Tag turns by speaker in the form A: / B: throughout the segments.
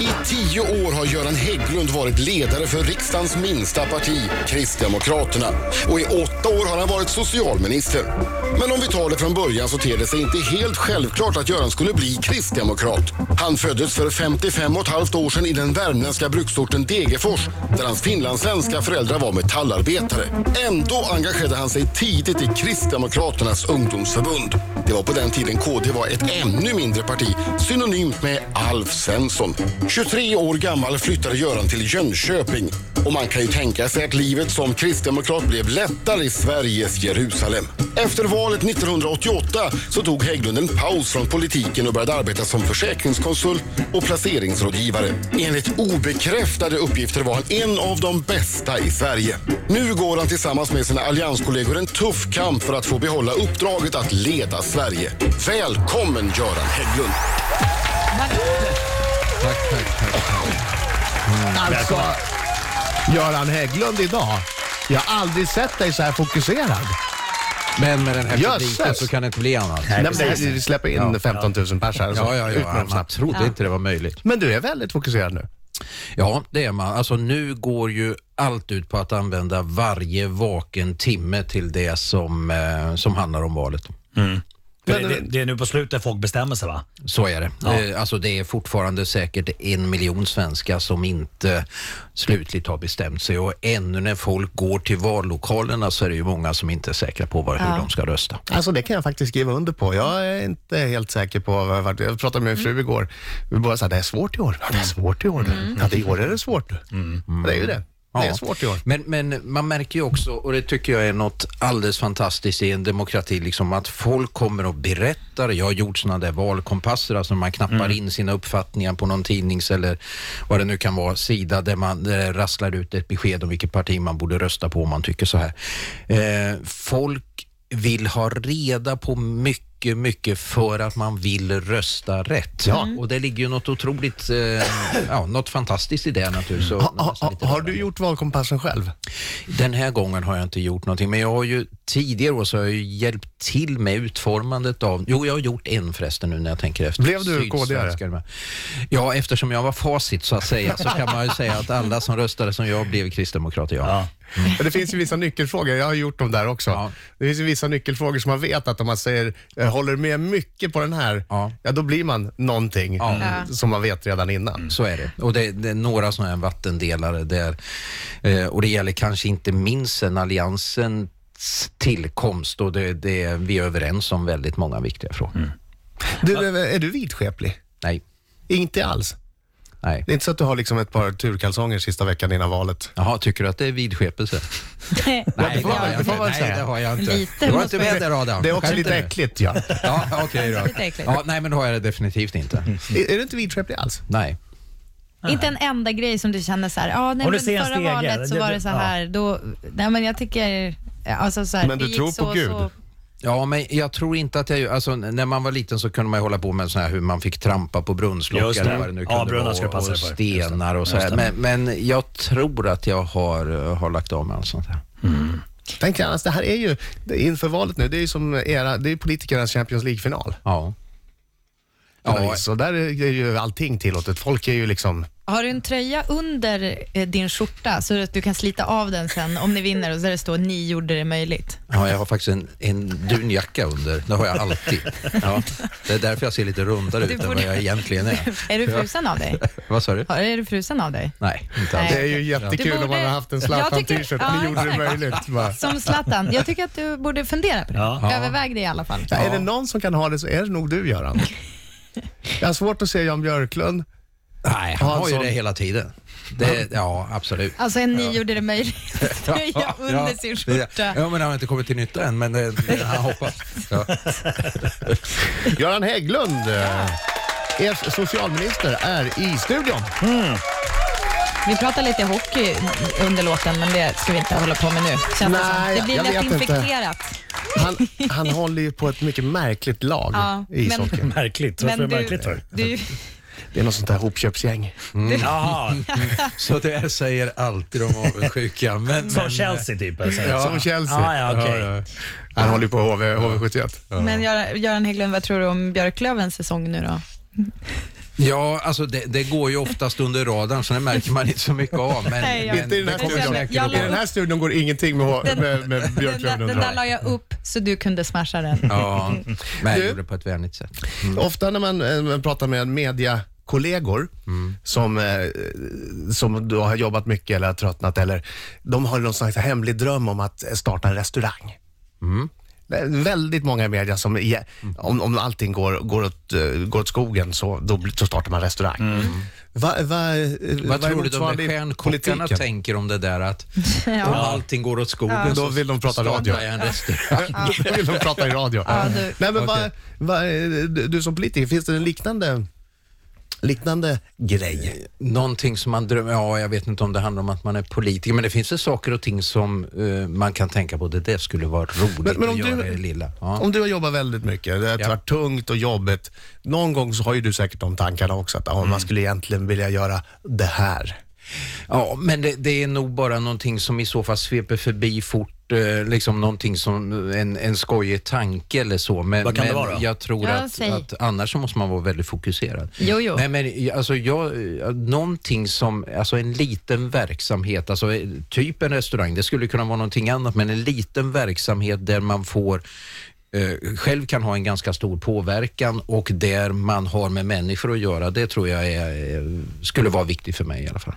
A: I tio år har Göran Hägglund varit ledare för riksdagens minsta parti, Kristdemokraterna. Och i åtta år har han varit socialminister. Men om vi tar det från början så ter det sig inte helt självklart att Göran skulle bli kristdemokrat. Han föddes för 55 och ett halvt år sedan i den värmländska bruksorten Degerfors där hans finlandssvenska föräldrar var metallarbetare. Ändå engagerade han sig tidigt i Kristdemokraternas ungdomsförbund. Det var på den tiden KD var ett ännu mindre parti, synonymt med Alf Svensson. 23 år gammal flyttade Göran till Jönköping och man kan ju tänka sig att livet som kristdemokrat blev lättare i Sveriges Jerusalem. Efter valet 1988 så tog Hägglund en paus från politiken och började arbeta som försäkringskonsult och placeringsrådgivare. Enligt obekräftade uppgifter var han en av de bästa i Sverige. Nu går han tillsammans med sina allianskollegor en tuff kamp för att få behålla uppdraget att leda Sverige. Välkommen Göran Hägglund!
B: Tack, tack, tack. tack. Alltså, Göran Hägglund idag. Jag har aldrig sett dig så här fokuserad.
C: Men med den här
B: Jösses.
C: publiken så kan det inte bli annat.
B: Nej, men
D: precis.
B: vi släpper in 15 000 pers här. och så.
C: Ja, ja,
B: Ut med
C: ja.
B: dem
C: Man
B: snabbt.
C: trodde inte det var möjligt.
B: Men du är väldigt fokuserad nu.
C: Ja, det är man. Alltså nu går ju allt ut på att använda varje vaken timme till det som, eh, som handlar om valet.
D: För det, det, det är nu på slutet folk bestämmer sig va?
C: Så är det. Eh, Alltså det är fortfarande säkert en miljon svenskar som inte slutligt har bestämt sig och ännu när folk går till vallokalerna så är det ju många som inte är säkra på var, hur de ska rösta.
B: Alltså det kan jag faktiskt skriva under på. Jag är inte helt säker på vart... Jag pratade med min fru igår. Vi båda sa, det är svårt i år. Ja, det är svårt i år. Mm. Ja, det i år är det svårt. du. Ja, Det är ju det. Det är
C: Ja.
B: svårt i år.
C: Men, men man märker ju också, och det tycker jag är något alldeles fantastiskt i en demokrati, liksom att folk kommer och berättar. Jag har gjort sådana där valkompasser, alltså man knappar
B: Mm.
C: in sina uppfattningar på någon tidnings eller vad det nu kan vara, sida där man där det rasslar ut ett besked om vilket parti man borde rösta på om man tycker så här. Eh, folk vill ha reda på mycket, mycket för att man vill rösta rätt. Ja. Och det ligger ju något otroligt, eh, ja, något fantastiskt i det naturligtvis. och
B: Ha, ha,
C: nästan
B: ha,
C: lite
B: har
C: rörande.
B: du gjort valkompassen själv?
C: Den här gången har jag inte gjort någonting, men jag har ju tidigare år så har jag ju hjälpt till med utformandet av, jo jag har gjort en förresten nu när jag tänker efter.
B: Blev du KD-are?
C: Sydsvenskar. Ja, eftersom jag var facit så att säga så kan man ju säga att alla som röstade som jag blev kristdemokrater, ja.
D: Ja.
B: Men det finns ju vissa nyckelfrågor, jag har gjort dem där också.
C: Ja.
B: Det finns ju vissa nyckelfrågor som man vet att om man säger, eh, håller med mycket på den här, ja,
C: Ja.
B: då blir man någonting eh, som man vet redan innan.
C: Så är det. Och det, det är några sådana här vattendelare där, eh, och det gäller kanske inte minst sen alliansens tillkomst och det, det, vi är överens om väldigt många viktiga frågor.
B: Du, eh, är du vidskeplig?
C: Nej,
B: Inte alls.
C: nej.
B: Det är inte så att du har liksom ett par turkalsonger sista veckan innan valet?
C: Jaha, tycker du att det är vidskepelse?
B: det får man-
C: har jag
B: det får man
C: inte.
B: säga.
C: Nej, det har jag inte.
E: Lite
C: du var
E: måste
C: inte med där Adam.
B: Det är också
C: Skärp
B: lite
C: dig nu.
B: äckligt, ja.
C: Ja, okej då.
E: Lite äckligt.
C: Ja, nej, men då har jag det definitivt inte.
D: Mm.
B: Är, är du inte vidskeplig alls?
C: Nej.
E: Inte en enda grej som du känner så här, ja, nej,
D: Om du
E: men
D: ser en
E: förra
D: stege,
E: valet så
D: det-
E: var
D: det-
E: det så här, då, nej men jag tycker, alltså så här,
B: Men du
E: det gick
B: tror på
E: så, och
B: Gud?
E: Så,
C: Ja, men jag tror inte att jag... gör- Alltså, när man var liten så kunde man ju hålla på med sån här hur man fick trampa på
D: Just
C: brunnslockar
D: det.
C: eller vad det nu
D: Ja,
C: kunde
D: brunnar ska
C: vara
D: du passa
C: och,
D: dig
C: och
D: för. Just
C: stenar och så här. Men, men jag tror att jag har, eh, har lagt av med allt sånt här.
B: Tänk dig annars, det här är ju det- inför valet nu, det är ju som era, det är politikernas Champions League-final.
C: Ja.
B: Ja.
C: Ja,
B: Så där är är ju allting tillåtet. Folk är ju liksom...
E: har du en tröja under eh, din skjorta så att du kan slita av den sen om ni vinner och så där det står ni gjorde det möjligt?
C: ja, jag har faktiskt en, en dunjacka under. Det har jag alltid. Ja, det är därför jag ser lite rundare ut än vad
E: borde-
C: jag egentligen är.
E: Är du frusen av dig?
C: Vad sa du?
E: Har, är du frusen av dig?
C: Nej, inte alls.
E: Nej.
B: Det är ju
E: Du
B: jättekul
E: borde-
B: om man har haft en
E: Jag
B: Zlatan-t-shirt.
E: tycker-
B: Ni
E: ja,
B: gjorde det
E: exakt.
B: möjligt. Va?
E: Som Zlatan. Jag tycker att du borde fundera på det.
D: Ja.
E: Överväg det i alla fall.
B: Ja. Är det någon som kan ha det så är det nog du, Göran. Jag har svårt att se Jan Björklund.
C: Nej, han har ju
B: Hansson.
C: det hela tiden. Det, alltså- ja, absolut.
E: Alltså en ni gjorde det möjligt tröja under sin skjorta.
C: Ja, men han har inte kommit till nytta än, men det, det, han hoppas. Ja.
B: Göran Hägglund, eh, er socialminister, är i studion.
E: Vi pratar lite hockey under låten, men det ska vi inte hålla på med nu. Känns det,
B: Nej,
E: som. det blir
B: jag
E: lätt
B: vet inte.
E: infekterat.
B: Han, han håller ju på ett mycket märkligt lag
E: Ja,
B: i
E: men-
B: ishockeyn.
D: Märkligt. Varför är det märkligt för?
E: du,
B: Det är något sånt där hopköpsgäng.
D: Mm. Jaha,
C: Så det här säger alltid de avundsjuka. Men,
D: som
C: men,
D: Chelsea typ. Alltså.
C: Ja.
B: Som Chelsea.
D: Ah, ja, okej.
B: Ja, ja. Han håller ju på HV, HV71.
E: men Göran- Göran Hägglund, vad tror du om Björklövens säsong nu då?
C: Ja, alltså det, det går ju oftast under radarn så det märker man inte så mycket av. Men,
E: Nej, jag-
C: men
B: Inte i den här
C: det kommer
E: studion.
C: säkert
E: Jag
C: att
B: I
E: la
C: vara.
B: den här studion går ingenting med, med, med
E: Den där,
B: Björklund
E: den
B: under.
E: där la jag upp så du kunde smasha den.
C: Ja, men
B: Du-
C: jag gjorde det på ett vänligt sätt.
B: Ofta när man eh, man pratar med mediakollegor
C: Mm.
B: som, eh, som då har jobbat mycket eller har tröttnat eller de har någon slags hemlig dröm om att eh, starta en restaurang.
C: Mm.
B: Det är väldigt många i media som, är- om, om allting går, går, åt, eh, går åt skogen så, då, blir- så startar man restaurang. Va, va, eh,
C: Mm. Vad
B: är
C: tror du de
B: motsvarande
C: där
B: i
C: stjärnkockarna
B: politiken?
C: tänker om det där att
E: Ja.
C: om allting går åt skogen
B: Ja.
C: så
B: Då vill de prata
C: startar
B: radio.
C: jag en restaurang.
B: Då vill de prata i radio.
E: Ja, du.
B: Nej, men
C: Okej.
B: vad, vad, eh, du, du som politiker, finns det en liknande, liknande grej?
C: Någonting som man drömmer, ja jag vet inte om det handlar om att man är politiker, men det finns ju saker och ting som eh, man kan tänka på, det där skulle vara roligt
B: Men, men om,
C: att göra i
B: du,
C: det lilla. Ja.
B: om du har jobbat väldigt mycket, det har
C: Ja.
B: varit tungt och jobbigt. Någon gång så har ju du säkert de tankarna också, att ja, man skulle egentligen vilja göra det här.
C: Ja, men det, det är nog bara någonting som i så fall sveper förbi fort, eh, liksom någonting som eh, en, en skojig tanke eller så. Men,
D: Vad kan det
C: men
D: vara?
C: jag tror
E: Ja,
C: att,
E: säg.
C: att annars så måste man vara väldigt fokuserad.
E: Jo, jo.
C: Nej, men alltså jag, eh, någonting som, alltså en liten verksamhet, alltså eh, typ en restaurang, det skulle kunna vara någonting annat, men en liten verksamhet där man får eh, själv kan ha en ganska stor påverkan och där man har med människor att göra, det tror jag är, eh, skulle vara viktigt för mig i alla fall.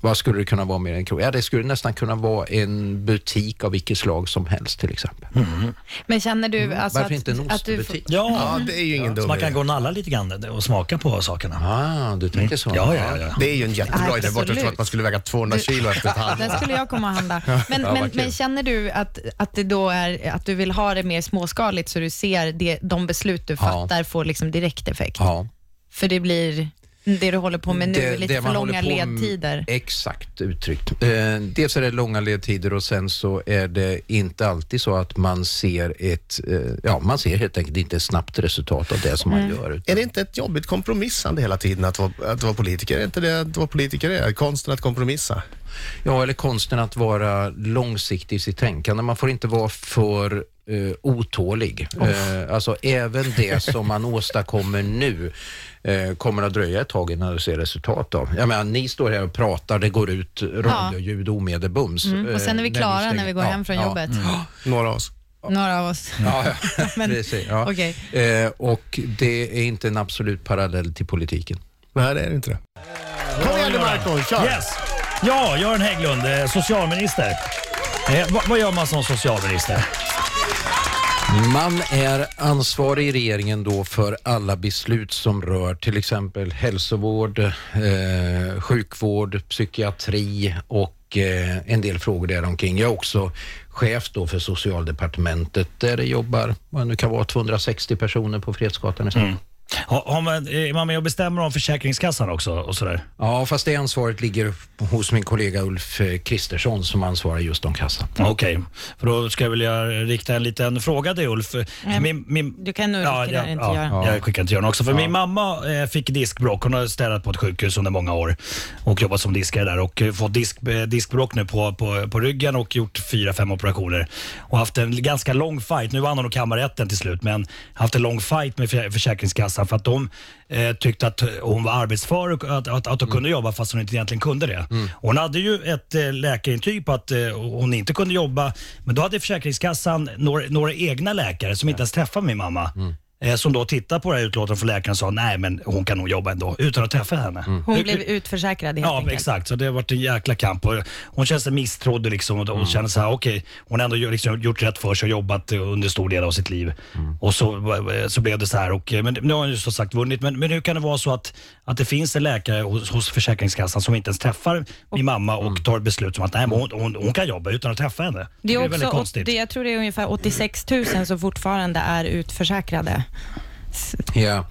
C: Vad skulle det kunna vara mer än krog? Ja, det skulle nästan kunna vara en butik av vilket slag som helst till exempel.
D: Mm.
E: Men känner du alltså
C: Mm. Varför
E: att,
C: inte en
E: att du...
C: ostbutik?
D: Ja,
B: Ja, det är ju ingen
D: så
B: dum
D: man kan
B: idé.
D: gå och nalla lite grann och smaka på sakerna.
C: Ah, du tänker så?
D: Mm. Ja, ja, ja.
B: Det är ju en jättebra idé, bort
E: Absolut.
B: att man skulle väga 200 kilo efter ett halvår.
E: Där skulle jag komma och handla. Men,
C: vad
E: men,
C: kul.
E: men känner du att, att det då är att du vill ha det mer småskaligt så du ser det, de beslut du fattar får liksom direkt effekt?
C: ja.
E: För det blir det du håller på med nu, är lite för
C: man
E: långa
C: håller på med-
E: ledtider.
C: Exakt uttryckt. Eh, dels är det långa ledtider och sen så är det inte alltid så att man ser ett, eh, ja man ser helt enkelt inte ett snabbt resultat av det som
E: Mm.
C: man gör.
B: Är
C: Utan,
B: det inte ett jobbigt kompromissande hela tiden att vara, att vara politiker? Är inte det att vara politiker är? Konsten att kompromissa?
C: ja, eller konsten att vara långsiktig i sitt tänkande. Man får inte vara för eh, otålig. Eh, alltså även det som man åstadkommer nu eh, kommer att dröja ett tag innan du ser resultat av. Jag menar, ni står här och pratar, det går ut radioljud omedelbums.
E: Mm, och sen är vi
C: eh,
E: klara
C: stänger-
E: när vi går
C: Ja,
E: hem från
C: ja.
E: jobbet.
B: Några av oss.
E: Några av oss.
C: Ja, ja.
E: Men-
C: precis. Ja.
E: okej.
C: Eh, och det är inte en absolut parallell till politiken.
B: Nej, det är det inte det. Kom igen nu Marco, kör!
D: Yes! Ja, Göran Hägglund, eh, socialminister. Eh, vad, vad gör man som socialminister?
C: Man är ansvarig i regeringen då för alla beslut som rör till exempel hälsovård, eh, sjukvård, psykiatri och eh, en del frågor däromkring. Jag är också chef då för socialdepartementet där det jobbar, vad det nu kan vara, 260 personer på Fredsgatan i Stockholm.
D: Har, har man, eh, är man med och bestämmer om Försäkringskassan också? Och sådär?
C: Ja, fast det ansvaret ligger hos min kollega Ulf eh, Kristersson som ansvarar just om kassan.
B: Mm.
D: Okej, för då ska jag vilja rikta en liten fråga till Ulf. Min, min,
E: Mm. du kan nog skicka den till
D: ja,
E: Göran.
D: Jag skickar den till Göran också. För Min mamma eh, fick diskbråck. Hon har städat på ett sjukhus under många år och jobbat som diskare där och eh, fått disk, eh, diskbråck nu på, på, på ryggen och gjort fyra, fem operationer. Och haft en ganska lång fight. Nu vann hon nog kammarrätten till slut, men haft en lång fight med Förä- Försäkringskassan för att de eh, tyckte att hon var arbetsför och att, att, att hon kunde jobba fast hon inte egentligen kunde det. Hon hade ju ett eh, läkarintyg på att eh, hon inte kunde jobba, men då hade Försäkringskassan några, några egna läkare som inte ens träffade min mamma. Eh, som då tittade på det här utlåtandet från läkaren och sa nej men hon kan nog jobba ändå utan att träffa henne.
E: Hon
D: Hur-
E: blev
D: hur-
E: utförsäkrad helt
D: Ja,
E: enkelt.
D: exakt. Så det har varit en jäkla kamp. Och hon känner sig misstrådd liksom, och hon känner så här, okej, hon har ändå gör- liksom, gjort rätt för sig och jobbat eh, under stor del av sitt liv. Och så, eh, så blev det så här. Och, eh, men nu har hon ju som sagt vunnit. Men, men hur kan det vara så att, att det finns en läkare hos, hos Försäkringskassan som inte ens träffar min mamma och tar ett beslut som att nej, men hon, hon, hon kan jobba utan att träffa henne?
E: Det är
D: väldigt
E: också, det, jag tror det är ungefär 86 000 som fortfarande är utförsäkrade.
C: Ja,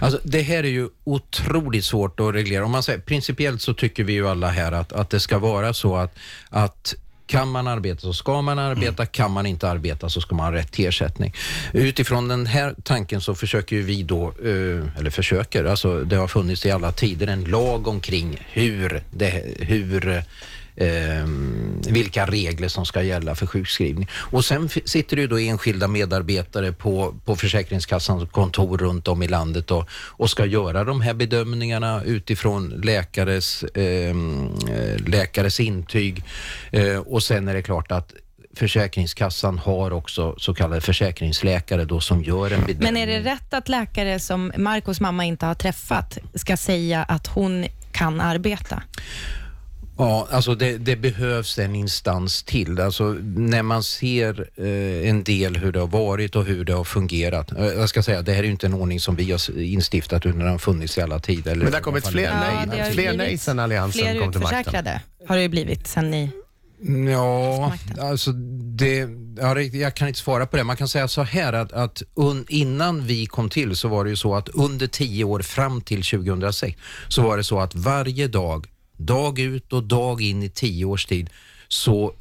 C: alltså det här är ju otroligt svårt att reglera. Om man säger, principiellt så tycker vi ju alla här att, att det ska vara så att, att kan man arbeta så ska man arbeta, kan man inte arbeta så ska man ha rätt till ersättning. Utifrån den här tanken så försöker ju vi då, eh, eller försöker, alltså det har funnits i alla tider en lag omkring hur, det, hur eh, vilka regler som ska gälla för sjukskrivning. Och sen f- sitter det ju då enskilda medarbetare på, på Försäkringskassans kontor runt om i landet och, och ska göra de här bedömningarna utifrån läkares, eh, läkares intyg. Eh, och sen är det klart att Försäkringskassan har också så kallade försäkringsläkare då som gör en bedömning.
E: Men är det rätt att läkare som Marcos mamma inte har träffat ska säga att hon kan arbeta?
C: Ja, alltså det, det behövs en instans till. Alltså när man ser eh, en del hur det har varit och hur det har fungerat. Eh, Jag ska säga, det här är ju inte en ordning som vi har s- instiftat utan den har funnits i alla tider. eller
B: Men det
C: i
B: har kommit
C: alla fall
B: fler
C: i-
B: nej,
E: det har ju
B: fler
E: blivit
B: nej sen Alliansen
E: fler
B: kom till makten.
E: utförsäkrade har det ju blivit sen ni...
C: Ja,
E: makten?
C: alltså det, ja, det- jag kan inte svara på det. Man kan säga så här att, att un, innan vi kom till så var det ju så att under tio år fram till 2006 så var det så att varje dag, dag ut och dag in i tio års tid så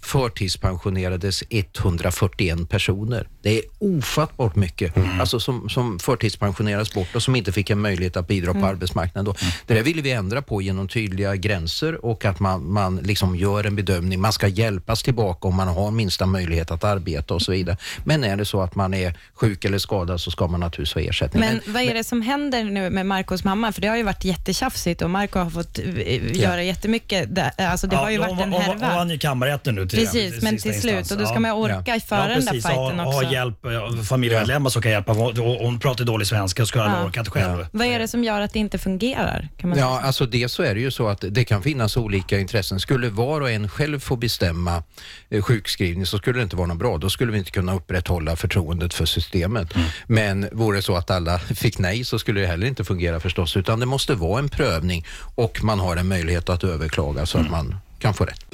C: förtidspensionerades 141 personer. Det är ofattbart mycket alltså som, som förtidspensioneras bort och som inte fick en möjlighet att bidra på arbetsmarknaden. Då. Det där ville vi ändra på genom tydliga gränser och att man, man liksom gör en bedömning. Man ska hjälpas tillbaka om man har minsta möjlighet att arbeta och så vidare. Men är det så att man är sjuk eller skadad så ska man naturligtvis ha ersättning.
E: Men vad är det som händer nu med Marcos mamma? För det har ju varit jättetjafsigt och Marco har fått eh, göra jättemycket. där. Alltså det har ju
D: Ja,
E: varit en
D: hon- hon- Hon
E: härva.
D: vann ju kammarrätten nu till
E: Precis, men
D: sista
E: till slut.
D: instans.
E: Och då ska
D: Ja.
E: man ju orka föra den där
D: precis.
E: fighten
D: ha,
E: också.
D: Ha hjälp, eh, familjemedlemmar som kan hjälpa. Hon, hon pratar dålig svenska och skulle aldrig
E: Ja.
D: orkat själv.
E: Vad är det som gör att det inte fungerar? Kan man
C: Ja, alltså det så är det ju så att det kan finnas olika intressen. Skulle var och en själv få bestämma eh, sjukskrivning så skulle det inte vara något bra. Då skulle vi inte kunna upprätthålla förtroendet för systemet.
E: Mm.
C: Men vore det så att alla fick nej så skulle det heller inte fungera förstås, utan det måste vara en prövning och man har en möjlighet att överklaga
E: Mm.
C: så att man kan få rätt.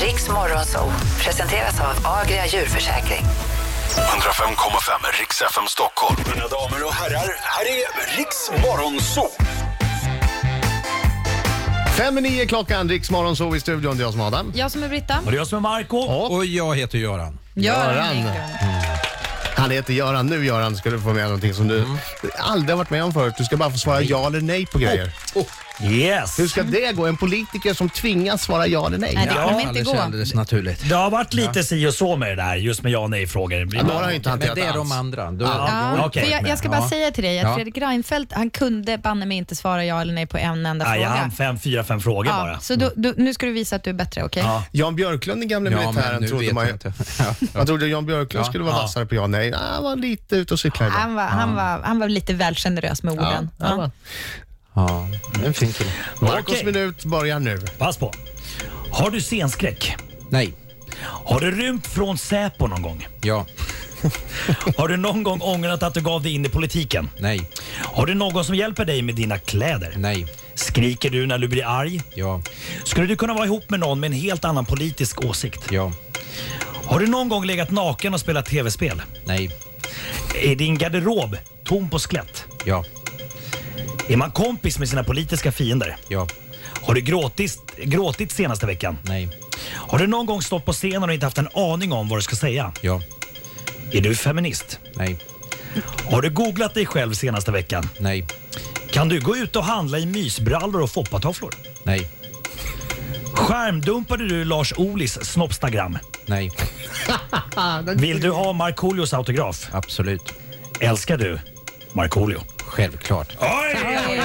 F: Riks Morgonzoo presenteras av Agria djurförsäkring.
G: 105,5 Riks FM Stockholm. Mina damer och herrar, här är Riks Morgonzoo.
B: Fem i nio klockan, Riksmorgon så i studion. Det är jag som är Adam.
E: Jag som är Britta.
D: Och det är jag som är Marco
C: Och jag heter Göran.
B: Göran. Han heter Göran. Nu Göran ska du få med någonting som du aldrig har varit med om förut. Du ska bara få svara ja eller nej på grejer.
D: Yes.
B: Hur ska det gå? En politiker som tvingas svara ja eller nej?
E: Nej, det
D: Ja,
E: kommer inte
C: Alldeles,
E: gå.
C: alldeles naturligt.
D: Det har varit lite si och så med det där, just med ja och nej-frågor.
B: Ja, några har ju inte
C: Men
B: hanterat
C: det är de
B: alls.
C: andra. Då,
E: Ja,
D: Okej.
E: för Mm. jag, jag ska bara
C: Ja.
E: säga till dig att
C: Ja.
E: Fredrik Reinfeldt, han kunde banne mig inte svara ja eller nej på en enda
D: Nej, jag
E: fråga.
D: hann fem, fyra, fem frågor bara.
E: Ja, så då, då, nu ska du visa att du är bättre, okej?
D: Ja.
B: Jan Björklund, den gamle
C: Ja, men
B: militären,
C: nu
B: trodde
C: vet
B: man
C: jag
B: ju.
C: inte. Ja.
B: Man trodde Jan Björklund
C: Ja.
B: skulle vara
D: Ja.
B: vassare på ja nej. Ah, Han var lite ute och cyklade. idag.
E: Han, var, han, var, han var lite väl generös med orden. Ja.
B: han var.
C: Ja, en fin kille.
B: Marcos
D: Okej.
B: minut börjar nu.
D: Pass på. Har du scenskräck?
C: Nej,
D: Har du rymt från Säpo någon gång?
C: ja,
D: Har du någon gång ångrat att du gav dig in i politiken?
C: nej,
D: Har du någon som hjälper dig med dina kläder?
C: nej,
D: Skriker du när du blir arg?
C: ja,
D: Skulle du kunna vara ihop med någon med en helt annan politisk åsikt?
C: ja,
D: Har du någon gång legat naken och spelat tv-spel?
C: nej,
D: Är din garderob tom på skelett?
C: ja,
D: Är man kompis med sina politiska fiender?
C: ja,
D: Har du gråtit, gråtit senaste veckan?
C: nej,
D: Har du någon gång stått på scenen och inte haft en aning om vad du ska säga?
C: ja,
D: Är du feminist?
C: nej,
D: Har du googlat dig själv senaste veckan?
C: nej,
D: Kan du gå ut och handla i mysbrallor och foppatofflor?
C: nej,
D: Skärmdumpade du Lars Olis snoppstagram?
C: nej,
D: Vill du ha Markoolios autograf?
C: absolut,
D: Älskar du Markoolio?
C: självklart.
D: Oj!
E: Oj, oj, oj,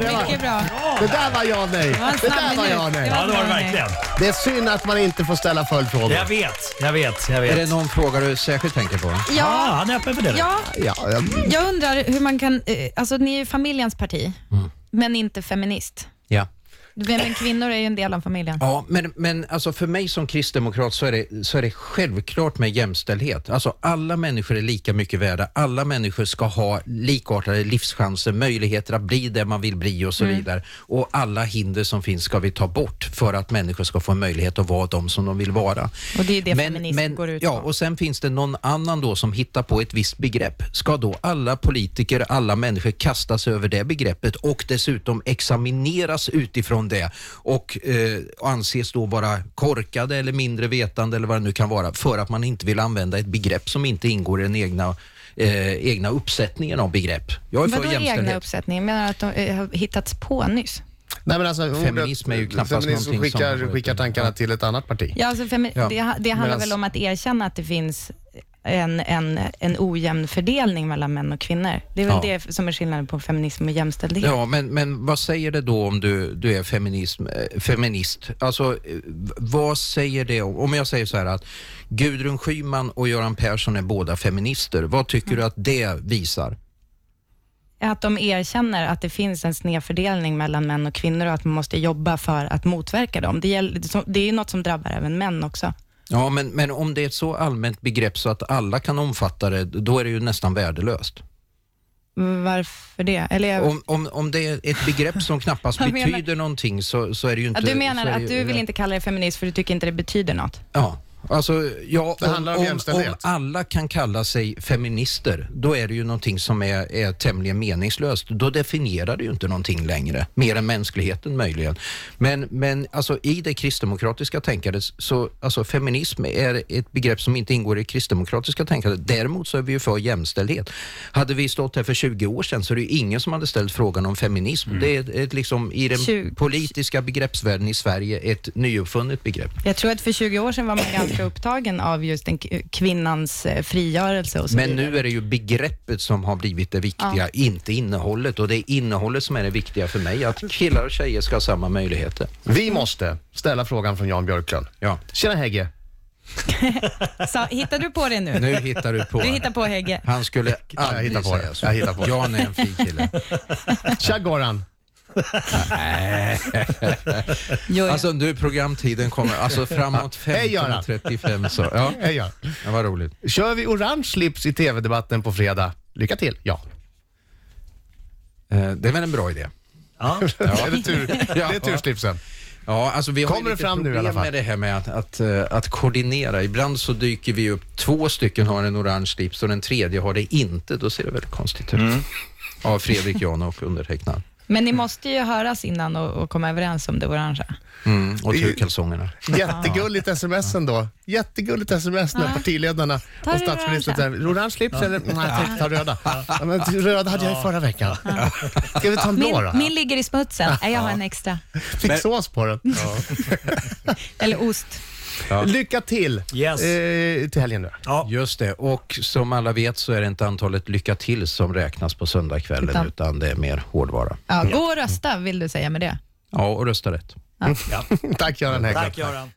E: Mycket bra.
B: Det där var ja nej.
E: var en
B: Det
E: snabb
B: där var
E: minut.
B: ja nej.
D: Ja, det var det verkligen.
B: Det är synd att man inte får ställa följdfrågor.
D: Jag vet, jag vet, jag
C: Är det
D: vet.
C: någon fråga du särskilt tänker på?
D: Ah,
E: Ja,
D: han är öppen för det.
E: ja,
B: Ja, jag,
E: jag undrar hur man kan... eh, Alltså, ni är ju familjens parti, men inte feminist.
C: Ja.
E: Men men kvinnor är ju en del av familjen.
C: Ja, men, men alltså för mig som kristdemokrat så är, det, så är det självklart med jämställdhet. Alltså alla människor är lika mycket värda. Alla människor ska ha likartade livschanser, möjligheter att bli det man vill bli och så
E: Mm.
C: vidare. Och alla hinder som finns ska vi ta bort för att människor ska få en möjlighet att vara de som de vill vara.
E: Och det är ju det feminism går ut
C: ja,
E: på.
C: och sen finns det någon annan då som hittar på ett visst begrepp. Ska då alla politiker, alla människor kastas över det begreppet och dessutom examineras utifrån det och eh, anses då vara korkade eller mindre vetande eller vad det nu kan vara för att man inte vill använda ett begrepp som inte ingår i den egna, eh, egna uppsättningen av begrepp. Jag är för
E: Vadå egna
C: jämställdhet.
E: uppsättning? Jag menar att de eh, har hittats på nyss.
B: Nej, men alltså, ordet-
C: Feminism är ju knappast
B: feminism
C: någonting som-
B: skickar, skickar tankarna till ett annat parti.
E: Ja, alltså femi-
C: Ja.
E: Det, det handlar
B: Medans-
E: väl om att erkänna att det finns en, en, en ojämn fördelning mellan män och kvinnor. Det är väl
C: Ja.
E: det som är skillnaden på feminism och jämställdhet.
C: Ja, men, men vad säger det då om du, du är feminism, eh, feminist? Alltså, eh, v- vad säger det om, om jag säger så här att Gudrun Schyman och Göran Persson är båda feminister. Vad tycker
E: Mm.
C: du att det visar?
E: Att de erkänner att det finns en snedfördelning mellan män och kvinnor och att man måste jobba för att motverka dem. Det, gäller, det är ju något som drabbar även män också.
C: Ja, men, men om det är ett så allmänt begrepp så att alla kan omfatta det, då är det ju nästan värdelöst.
E: Varför det? Eller jag,
C: Om, om, om det är ett begrepp som knappast
E: Jag menar-
C: betyder någonting så, så är det ju inte...
E: ja, du
C: så
E: menar
C: är det
E: att
C: ju-
E: du vill inte kalla det feminist för du tycker inte det betyder något?
C: Ja. Alltså, ja,
B: Det handlar om jämställdhet.
C: om alla kan kalla sig feminister, då är det ju någonting som är, är tämligen meningslöst. Då definierar det ju inte någonting längre, mer än mänskligheten möjligen. Men, men alltså, i det kristdemokratiska tänkandet, så alltså, feminism är ett begrepp som inte ingår i det kristdemokratiska tänkandet. Däremot så är vi ju för jämställdhet. Hade vi stått här för 20 år sedan så är det ju ingen som hade ställt frågan om feminism.
B: Mm.
C: Det är ett, ett, liksom, i den
E: Tjugo-
C: politiska begreppsvärlden i Sverige ett nyuppfunnet begrepp.
E: Jag tror att för 20 år sedan var man ganska upptagen av just en k- kvinnans eh, frigörelse och så
C: Men
E: vidare.
C: nu är det ju begreppet som har blivit det viktiga, inte innehållet. Och det är innehållet som är det viktiga för mig, att killar och tjejer ska ha samma möjligheter.
B: Vi måste ställa frågan från Jan Björklund.
C: Ja.
B: Tjena Hägge.
E: Sa, hittar du på det nu?
C: Nu hittar du på.
E: Du hittar på Hägge.
C: Han skulle
B: jag
C: aldrig
B: hittar på det.
C: säga så.
B: Jag hittar på det.
C: Jan är en fin kille.
B: Tja Goran.
E: Jo, ja.
C: Alltså nu programtiden kommer, alltså framåt
B: Hej, Göran.
C: 15.35 så. Ja,
B: Hej Jan.
C: det var roligt.
B: Kör vi orange slips i tv-debatten på fredag? Lycka till. Ja.
C: Eh, Det är väl en bra idé.
D: Ja.
B: Det är tur, det är turslipsen.
C: Ja, alltså vi har ju
B: Kommer det
C: lite
B: fram nu i
C: problem
B: alla fall?
C: med det här med att, att, eh, att koordinera. Ibland så dyker vi upp, två stycken har en orange slips och den tredje har det inte. Då ser det väldigt konstigt ut. Av Fredrik, Jan och undertecknad.
E: Men ni måste ju höras innan och, och komma överens om det orangea.
C: Mm, och turkalsongerna.
B: Jättegulligt sms ändå. Jättegulligt sms när partiledarna
E: Ta
B: och
E: det
B: statsministern
E: orangea.
B: säger orange slips eller nej, jag tänkte ta röda. Ja, men röda hade jag i förra veckan. Ska vi ta en
E: Min,
B: blå då?
E: min ligger i smutsen. Nej, Jag har en extra.
B: Fick sås på den.
E: Eller ost.
B: Lycka till
D: Yes.
B: eh, till helgen nu.
D: Ja.
C: Just det, och som alla vet så är det inte antalet lycka till som räknas på söndagskvällen utan,
E: Utan-
C: det är mer hårdvara.
E: Ja, gå och rösta vill du säga med det.
C: Ja, och rösta rätt.
B: Tack Göran Hägglund.
D: Tack Göran.